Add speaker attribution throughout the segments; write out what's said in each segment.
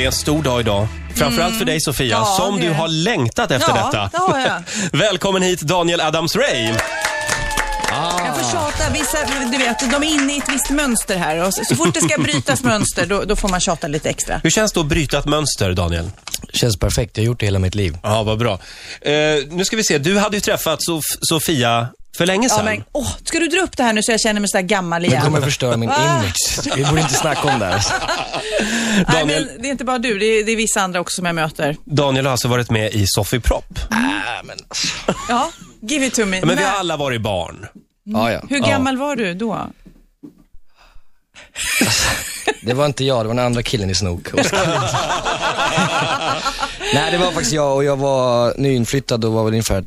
Speaker 1: är en stor dag idag. Framförallt för dig Sofia,
Speaker 2: Mm. Ja,
Speaker 1: som
Speaker 2: det
Speaker 1: du
Speaker 2: är det.
Speaker 1: har längtat efter
Speaker 2: Ja,
Speaker 1: detta.
Speaker 2: det har jag.
Speaker 1: Välkommen hit Daniel Adams-Ray.
Speaker 2: Jag
Speaker 3: Ah.
Speaker 2: får tjata. Vissa, du vet, de är inne i ett visst mönster här. Och så, så fort det ska brytas mönster, då, då får man tjata lite extra.
Speaker 1: Hur känns det att bryta ett mönster, Daniel?
Speaker 3: Känns perfekt, jag har gjort det hela mitt liv.
Speaker 1: Ja, vad bra. Eh, nu ska vi se, du hade ju träffat Sof- Sofia för länge
Speaker 2: Ja,
Speaker 1: sedan.
Speaker 2: men, åh, ska du dra upp det här nu så jag känner mig så där gammal
Speaker 3: Det
Speaker 2: igen?
Speaker 3: kommer förstöra min
Speaker 2: Ah.
Speaker 3: inmix. Vi borde inte snacka om det här.
Speaker 2: Nej,
Speaker 1: Daniel-
Speaker 2: men det är inte bara du, det är, det är vissa andra också som jag möter.
Speaker 1: Daniel har alltså varit med i Sofie Propp.
Speaker 2: Ja, give it to me.
Speaker 1: Men vi
Speaker 2: När-
Speaker 1: har alla varit barn.
Speaker 3: Ja, ja.
Speaker 2: Hur gammal var du då?
Speaker 3: Det var inte jag, det var den andra killen i snok. Och så- Nej, det var faktiskt jag och jag var nyinflyttad och var väl ungefär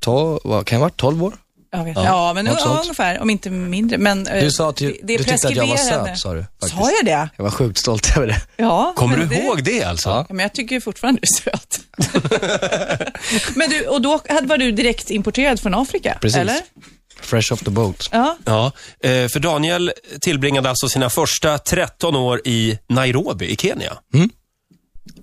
Speaker 3: 12, vad kan jag vara, 12 år?
Speaker 2: Jag vet. Ja, ja men
Speaker 3: något
Speaker 2: ja,
Speaker 3: sånt.
Speaker 2: ungefär, om inte mindre. Men, eh,
Speaker 3: Du sa att ju-
Speaker 2: det är
Speaker 3: du tyckte att jag var
Speaker 2: preskriberande.
Speaker 3: söt, sa du, faktiskt.
Speaker 2: Sa jag det?
Speaker 3: Jag var sjukt stolt över det.
Speaker 2: Ja.
Speaker 1: Kommer
Speaker 2: men
Speaker 1: du
Speaker 2: det-
Speaker 1: ihåg det alltså?
Speaker 3: Ja.
Speaker 2: Ja, Men jag tycker fortfarande du är söt. men du, och då hade- var du direkt importerad från Afrika?
Speaker 3: Precis.
Speaker 2: Eller?
Speaker 3: Fresh off the boat.
Speaker 2: Ja.
Speaker 1: Ja, eh, för Daniel tillbringade alltså sina första 13 år i Nairobi i Kenya.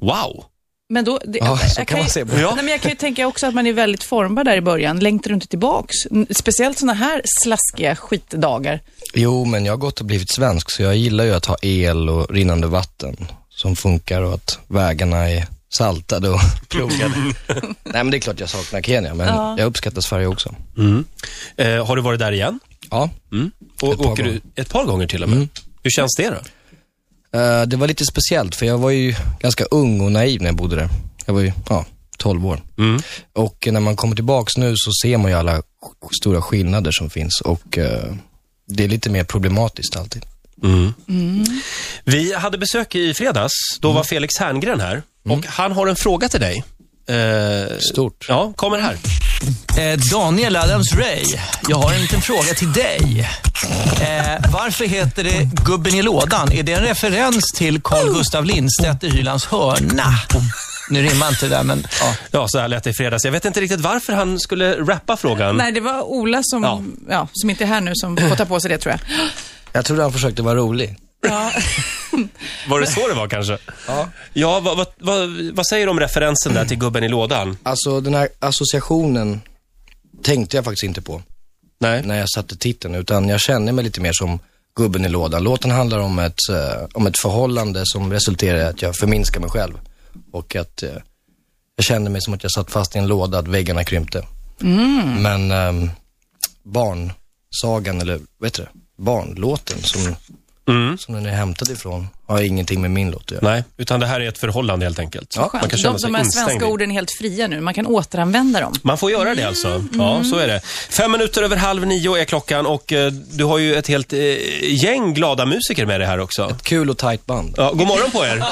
Speaker 1: Wow!
Speaker 2: Men då, det,
Speaker 3: Ja, så kan
Speaker 2: ju-
Speaker 3: man se på.
Speaker 1: Ja.
Speaker 2: Nej, men jag kan ju tänka också att man är väldigt formbar där i början. Längtar du inte tillbaks? N- Speciellt sådana här slaskiga
Speaker 3: Mm.
Speaker 2: skitdagar.
Speaker 3: Jo, men jag har gått och blivit svensk så jag gillar ju att ha el och rinnande vatten som funkar och att vägarna är saltade och plogade. Nej, men det är klart jag saknar Kenya, men jag uppskattar Sverige också.
Speaker 1: Eh, har du varit där igen?
Speaker 3: Ja,
Speaker 1: Och
Speaker 3: Ett par
Speaker 1: åker du
Speaker 3: gånger.
Speaker 1: ett par gånger Mm. till och med. Hur känns det då?
Speaker 3: Eh, det var lite speciellt för jag var ju ganska ung och naiv när jag bodde där. Jag var ju, ja, 12 år. Och när man kommer tillbaks nu så ser man ju alla sk- stora skillnader som finns och eh, det är lite mer problematiskt alltid.
Speaker 1: Vi hade besök i fredags. Då var Felix Herngren här. Och han har en fråga till dig. Eh,
Speaker 3: Stort.
Speaker 1: ja, kommer här.
Speaker 4: Eh, Daniel Adams Ray, jag har en liten fråga till dig. Eh, varför heter det Gubben i lådan? Är det en referens till Carl Gustav Lindstedt i Hylands hörna? Nu rimmar inte det där, men ja.
Speaker 1: Ja, så här lät det i fredags. Jag vet inte riktigt varför han skulle rappa frågan.
Speaker 2: Nej, det var Ola som,
Speaker 1: Ja.
Speaker 2: ja. som inte är här nu som får ta på sig det tror jag.
Speaker 3: Jag trodde han försökte vara rolig.
Speaker 1: Var det så det var kanske?
Speaker 3: Ja.
Speaker 1: Ja, vad, vad, vad, vad säger du om referensen där till gubben i lådan?
Speaker 3: Alltså den här associationen tänkte jag faktiskt inte på
Speaker 1: Nej.
Speaker 3: när jag satte titeln utan jag kände mig lite mer som gubben i lådan. Låten handlar om ett, eh, om ett förhållande som resulterar i att jag förminskar mig själv och att eh, jag kände mig som att jag satt fast i en låda, att väggarna krympte. Men ehm, barnsagan, eller vad heter det, barnlåten som, som den är hämtad ifrån har ingenting med min låt att göra.
Speaker 1: Nej, utan det här är ett förhållande helt enkelt.
Speaker 3: Ja.
Speaker 1: Man kan
Speaker 2: De,
Speaker 1: känna sig
Speaker 2: de här
Speaker 1: instängd
Speaker 2: svenska
Speaker 1: i.
Speaker 2: orden är helt fria nu. Man kan återanvända dem.
Speaker 1: Man får göra det alltså. Ja, så är det. Fem minuter över halv nio är klockan och eh, du har ju ett helt eh, gäng glada musiker med dig här också.
Speaker 3: Kul och tight band.
Speaker 1: Ja, god morgon på er!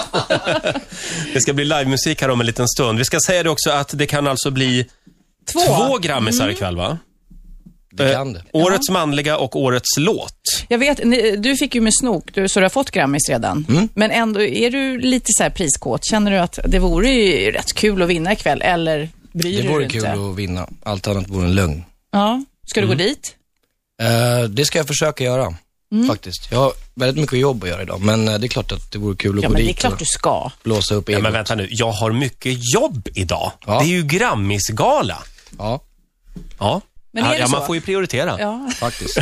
Speaker 1: det ska bli livemusik här om en liten stund. Vi ska säga det också att det kan alltså bli två, grammisar ikväll va? Eh,
Speaker 3: Det kan det.
Speaker 1: Årets manliga och årets låt.
Speaker 2: Jag vet, ni, du fick ju med snok, du, så du har fått Grammis redan.
Speaker 3: Mm.
Speaker 2: Men ändå, är du lite så här priskåt? Känner du att det vore ju rätt kul att vinna ikväll, eller bryr
Speaker 3: Det
Speaker 2: du
Speaker 3: vore
Speaker 2: dig
Speaker 3: kul
Speaker 2: inte?
Speaker 3: att Mm. vinna. Allt annat vore en lögn.
Speaker 2: Ja. Ska du gå dit?
Speaker 3: Eh, det ska jag försöka göra,
Speaker 2: Mm.
Speaker 3: faktiskt. Jag har väldigt mycket jobb att göra idag, men eh, det är klart att det vore kul att
Speaker 2: Ja,
Speaker 3: gå
Speaker 2: men det är
Speaker 3: dit
Speaker 2: klart
Speaker 3: och
Speaker 2: du ska.
Speaker 3: blåsa upp
Speaker 1: Ja,
Speaker 3: egot.
Speaker 1: men vänta nu, jag har mycket jobb idag.
Speaker 3: Ja.
Speaker 1: Det är ju grammisgala.
Speaker 3: Ja,
Speaker 1: Ja.
Speaker 2: Men är
Speaker 1: ja,
Speaker 2: det
Speaker 1: ja, man
Speaker 2: så?
Speaker 1: får ju prioritera.
Speaker 2: Ja.
Speaker 3: faktiskt.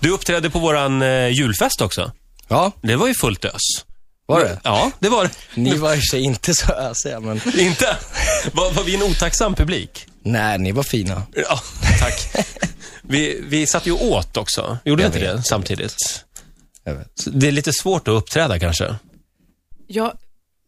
Speaker 1: Du uppträdde på våran eh, julfest också.
Speaker 3: ja,
Speaker 1: Det var ju fullt ös.
Speaker 3: var det?
Speaker 1: Ja, det var det.
Speaker 3: Ni var i och för sig inte så ösiga, men
Speaker 1: Inte? Var, var vi en otacksam publik?
Speaker 3: nej, ni var fina.
Speaker 1: Ja, tack. Vi, vi satt ju åt också. Gjorde vi
Speaker 3: Jag
Speaker 1: inte
Speaker 3: vet.
Speaker 1: det samtidigt?
Speaker 3: Jag vet.
Speaker 1: Så Det är lite svårt att uppträda kanske.
Speaker 2: Jag,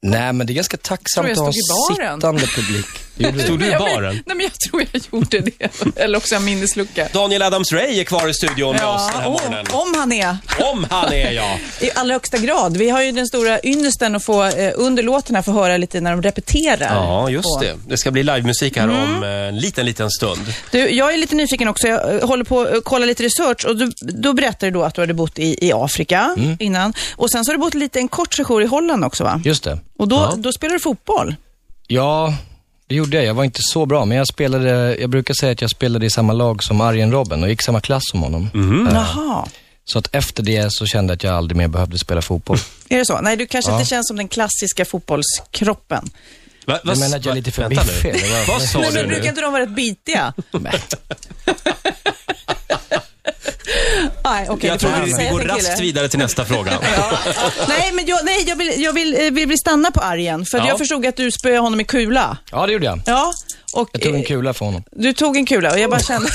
Speaker 3: Nej, men det är ganska tacksamt
Speaker 2: jag
Speaker 3: att ha en
Speaker 2: stod i baren.
Speaker 3: sittande publik. Gjorde du?
Speaker 1: Stod du i
Speaker 2: jag vet-
Speaker 1: baren?
Speaker 2: Nej, men jag tror jag gjorde det. Eller också har jag minneslucka.
Speaker 1: Daniel Adams-Ray är kvar i studion med oss den här
Speaker 2: om-
Speaker 1: morgonen.
Speaker 2: om han är.
Speaker 1: Om han är jag.
Speaker 2: I allra högsta grad. Vi har ju den stora ynnesten att få eh, under låten här få höra lite när de repeterar.
Speaker 1: Ja, just
Speaker 2: på-
Speaker 1: det. Det ska bli livemusik här
Speaker 2: Mm.
Speaker 1: om eh, en liten, liten stund.
Speaker 2: Du, jag är lite nyfiken också. Jag eh, håller på att kolla lite research och du, då berättade du då att du hade bott i, i Afrika
Speaker 1: Mm.
Speaker 2: innan. Och sen så har du bott lite en kort sejour i Holland också va?
Speaker 3: Just det.
Speaker 2: Och då, då spelar du fotboll.
Speaker 3: Ja, det gjorde jag. Jag var inte så bra, men jag
Speaker 1: Mhm. Mm.
Speaker 3: spelade, jag brukar säga att jag spelade i samma lag som Arjen Robben och gick samma klass som honom. Eh,
Speaker 2: Jaha.
Speaker 3: Så att efter det så kände jag att jag aldrig mer behövde spela fotboll.
Speaker 2: Är det så? Nej, du kanske
Speaker 3: Ja.
Speaker 2: inte känns som den klassiska fotbollskroppen.
Speaker 1: Va,
Speaker 3: Jag menar att jag är lite för
Speaker 1: vänta nu.
Speaker 3: biffig, eller vad?
Speaker 1: Vad sa
Speaker 2: Men,
Speaker 1: du
Speaker 2: men brukar
Speaker 1: nu?
Speaker 2: inte de vara rätt bitiga?
Speaker 3: Nej.
Speaker 2: Nej, okej.
Speaker 1: Jag
Speaker 2: det får
Speaker 1: tror
Speaker 2: man
Speaker 1: vi,
Speaker 2: säga
Speaker 1: vi går
Speaker 2: till en
Speaker 1: raskt
Speaker 2: kille.
Speaker 1: vidare till nästa fråga.
Speaker 2: Nej, men jag, nej, jag, vill, jag vill, eh, vill, vill stanna på argen. För
Speaker 1: Ja.
Speaker 2: jag förstod att du spöade honom med kula.
Speaker 3: Ja, det gjorde jag.
Speaker 2: Ja, och
Speaker 3: Jag tog en
Speaker 2: eh,
Speaker 3: kula från honom.
Speaker 2: du tog en kula och jag bara
Speaker 1: Oh.
Speaker 2: kände...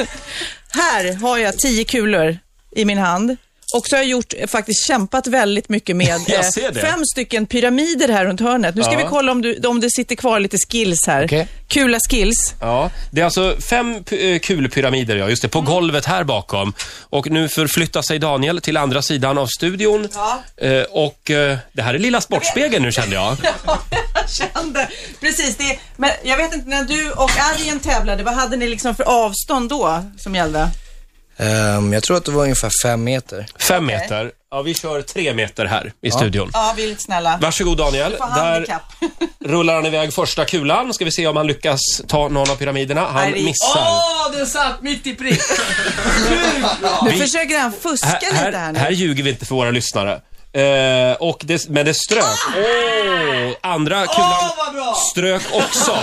Speaker 2: här har jag tio kulor i min hand. Och så har jag gjort, eh, faktiskt kämpat väldigt mycket med
Speaker 1: Jag
Speaker 2: eh,
Speaker 1: ser det.
Speaker 2: fem stycken pyramider här runt hörnet. Nu ska
Speaker 1: Ja.
Speaker 2: vi kolla om, du, om det sitter kvar lite skills här.
Speaker 3: Okej.
Speaker 2: Kula skills.
Speaker 1: Ja, det är alltså fem p- eh, kulpyramider, ja, just det, på
Speaker 2: Mm.
Speaker 1: golvet här bakom. Och nu förflyttar sig Daniel till andra sidan av studion. Eh, och eh, det här är lilla Sportspegeln nu kände jag.
Speaker 2: jag kände. Precis, det, men jag vet inte, när du och Arjen tävlade, vad hade ni liksom för avstånd då som gällde?
Speaker 3: Ehm, jag tror att det var ungefär fem meter.
Speaker 1: Fem meter. Ja, vi kör tre meter här i studion.
Speaker 2: Ja, vi är lite snälla.
Speaker 1: Varsågod Daniel.
Speaker 2: får
Speaker 1: Där
Speaker 2: handikapp.
Speaker 1: rullar han iväg första kulan. Ska vi se om han lyckas ta någon av pyramiderna. Han
Speaker 2: Nej, det-
Speaker 1: missar.
Speaker 5: den satt mitt i prick.
Speaker 2: Nu
Speaker 1: Vi-
Speaker 2: försöker han fuska
Speaker 1: Här,
Speaker 2: lite här
Speaker 1: här,
Speaker 2: nu.
Speaker 1: här ljuger vi inte för våra lyssnare. Eh, och det, men det strök. Åh, Andra kulan
Speaker 5: vad bra!
Speaker 1: strök också.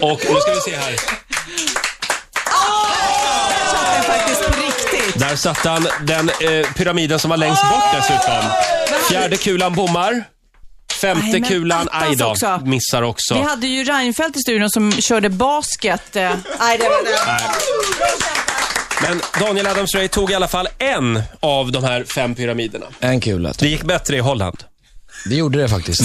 Speaker 1: Och nu ska vi se här.
Speaker 2: Där satt den faktiskt på riktigt.
Speaker 1: Där satt han den eh, pyramiden som var längst bort dessutom. Fjärde kulan bommar. Femte
Speaker 2: Nej, men
Speaker 1: kulan,
Speaker 2: attans
Speaker 1: aj då,
Speaker 2: också.
Speaker 1: missar också.
Speaker 2: Vi hade ju Reinfeldt i studion som körde basket. eh. Nej, det var det.
Speaker 1: Men Daniel Adams-Ray tog i alla fall en av de här fem pyramiderna.
Speaker 3: En kula.
Speaker 1: Det gick bättre i Holland.
Speaker 3: Det gjorde det faktiskt.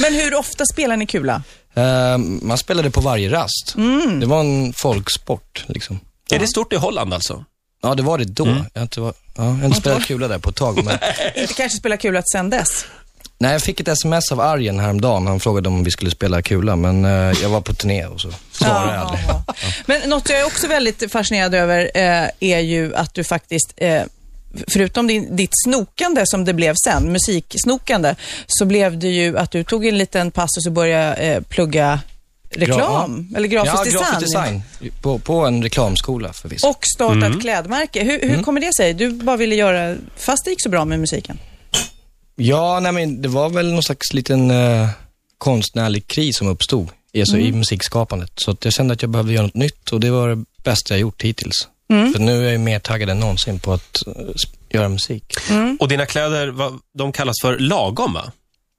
Speaker 2: Men hur ofta spelar ni kula?
Speaker 3: Ehm, man spelade på varje rast. Det var en folksport liksom.
Speaker 1: Är det stort i Holland alltså?
Speaker 3: Ja, det var det då. Jag har inte, Mm. var, ja, jag har inte spelat kula där på ett tag. Men...
Speaker 2: Inte kanske spela kula sen dess.
Speaker 3: Nej, jag fick ett sms av Arjen häromdagen. Han frågade om vi skulle spela kula, men eh, jag var på turné och så svarade jag aldrig.
Speaker 2: Ja. Men något jag är också väldigt fascinerad över eh, är ju att du faktiskt, eh, förutom din, ditt snokande som det blev sen, musiksnokande, så blev det ju att du tog en liten passus och började eh, plugga reklam,
Speaker 3: Gra-
Speaker 2: eller grafisk,
Speaker 3: ja,
Speaker 2: design.
Speaker 3: grafisk design. På, på en reklamskola förvisso.
Speaker 2: Och starta ett klädmärke. Hur,
Speaker 3: Mm.
Speaker 2: hur kommer det sig? Du bara ville göra, fast det gick så bra med musiken.
Speaker 3: Ja, nej men det var väl någon slags liten eh, konstnärlig kris som uppstod alltså, i musikskapandet. Så att jag kände att jag behövde göra något nytt och det var det bästa jag gjort hittills. För nu är jag ju mer taggad än någonsin på att eh, sp- göra musik.
Speaker 1: Och dina kläder, va, de kallas för lagom va?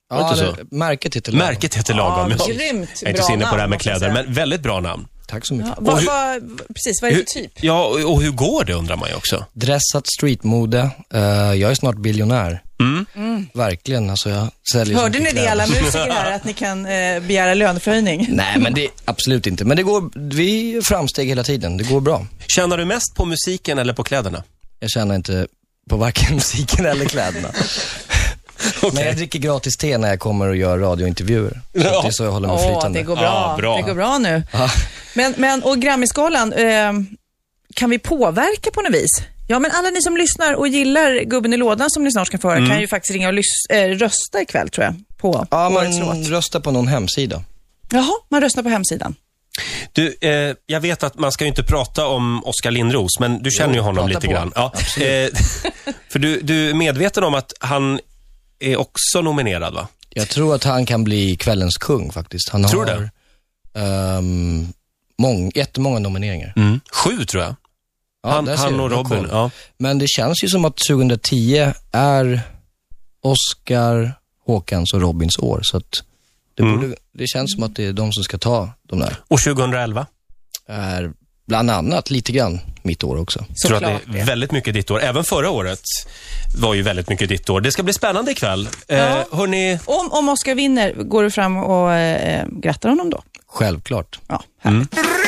Speaker 3: Ja,
Speaker 1: inte
Speaker 3: det, märket heter Lagom.
Speaker 1: Märket heter lagom.
Speaker 2: Ja,
Speaker 1: ja.
Speaker 2: grymt
Speaker 1: jag är inte
Speaker 2: bra
Speaker 1: så inne på det här
Speaker 2: namn,
Speaker 1: med
Speaker 2: måste jag
Speaker 1: kläder,
Speaker 2: säga.
Speaker 1: men väldigt bra namn.
Speaker 3: Tack så mycket.
Speaker 2: Ja, vad,
Speaker 1: hur-
Speaker 2: vad, precis, vad är det för typ?
Speaker 1: Ja, och och hur går det undrar man ju också.
Speaker 3: Dressat streetmode. Eh, jag är snart biljonär. Verkligen, alltså jag säljer
Speaker 2: Mm.
Speaker 3: så
Speaker 2: Hörde ni
Speaker 3: mycket
Speaker 2: det
Speaker 3: kläder.
Speaker 2: alla musiker här, att ni kan eh, begära löneförhöjning?
Speaker 3: Nej, men det, absolut inte. Men det går, vi gör framsteg hela tiden. Det går bra.
Speaker 1: Tjänar du mest på musiken eller på kläderna?
Speaker 3: Jag tjänar inte på varken musiken eller kläderna. Men jag dricker gratis te när jag kommer och gör radiointervjuer. Så att det är så jag håller mig
Speaker 2: Åh,
Speaker 3: flytande.
Speaker 2: det går bra.
Speaker 1: Ja, bra.
Speaker 2: Det går bra nu.
Speaker 3: Ja.
Speaker 2: Men, men och Grammisgalan, eh, kan vi påverka på något vis? Ja, men alla ni som lyssnar och gillar Gubben i lådan som ni snart ska få höra
Speaker 1: Mm.
Speaker 2: kan ju faktiskt ringa och lys- eh, rösta ikväll tror jag. På
Speaker 3: Ja,
Speaker 2: årets
Speaker 3: man
Speaker 2: låt.
Speaker 3: röstar på någon hemsida.
Speaker 2: Jaha, man röstar på hemsidan.
Speaker 1: Du, eh, jag vet att man ska ju inte prata om Oskar Lindros, men du känner ju honom
Speaker 3: prata
Speaker 1: lite
Speaker 3: på.
Speaker 1: grann. Ja. Eh, för du, du är medveten om att han är också nominerad, va?
Speaker 3: Jag tror att han kan bli kvällens kung faktiskt. Han
Speaker 1: Tror du
Speaker 3: har um, mång, jättemånga nomineringar.
Speaker 1: Sju, tror jag.
Speaker 3: Mm. Ja,
Speaker 1: Mm. han,
Speaker 3: där ser
Speaker 1: han
Speaker 3: du.
Speaker 1: och
Speaker 3: Bra
Speaker 1: Robin.
Speaker 3: koll.
Speaker 1: Ja.
Speaker 3: Men det känns ju som att 2010 är Oscar, Håkans och Robins år. Så att det,
Speaker 1: Mm.
Speaker 3: borde, det känns som att det är de som ska ta de där.
Speaker 1: Och 2011.
Speaker 3: Är bland annat lite grann mitt år också.
Speaker 1: tror att det
Speaker 2: Såklart
Speaker 1: är väldigt mycket ditt år. Även förra året var ju väldigt mycket ditt år. Det ska bli spännande ikväll. Eh, hörni,
Speaker 2: Om, om Oskar vinner, går du fram och eh, grattar honom då?
Speaker 3: Självklart.
Speaker 2: Ja, härligt.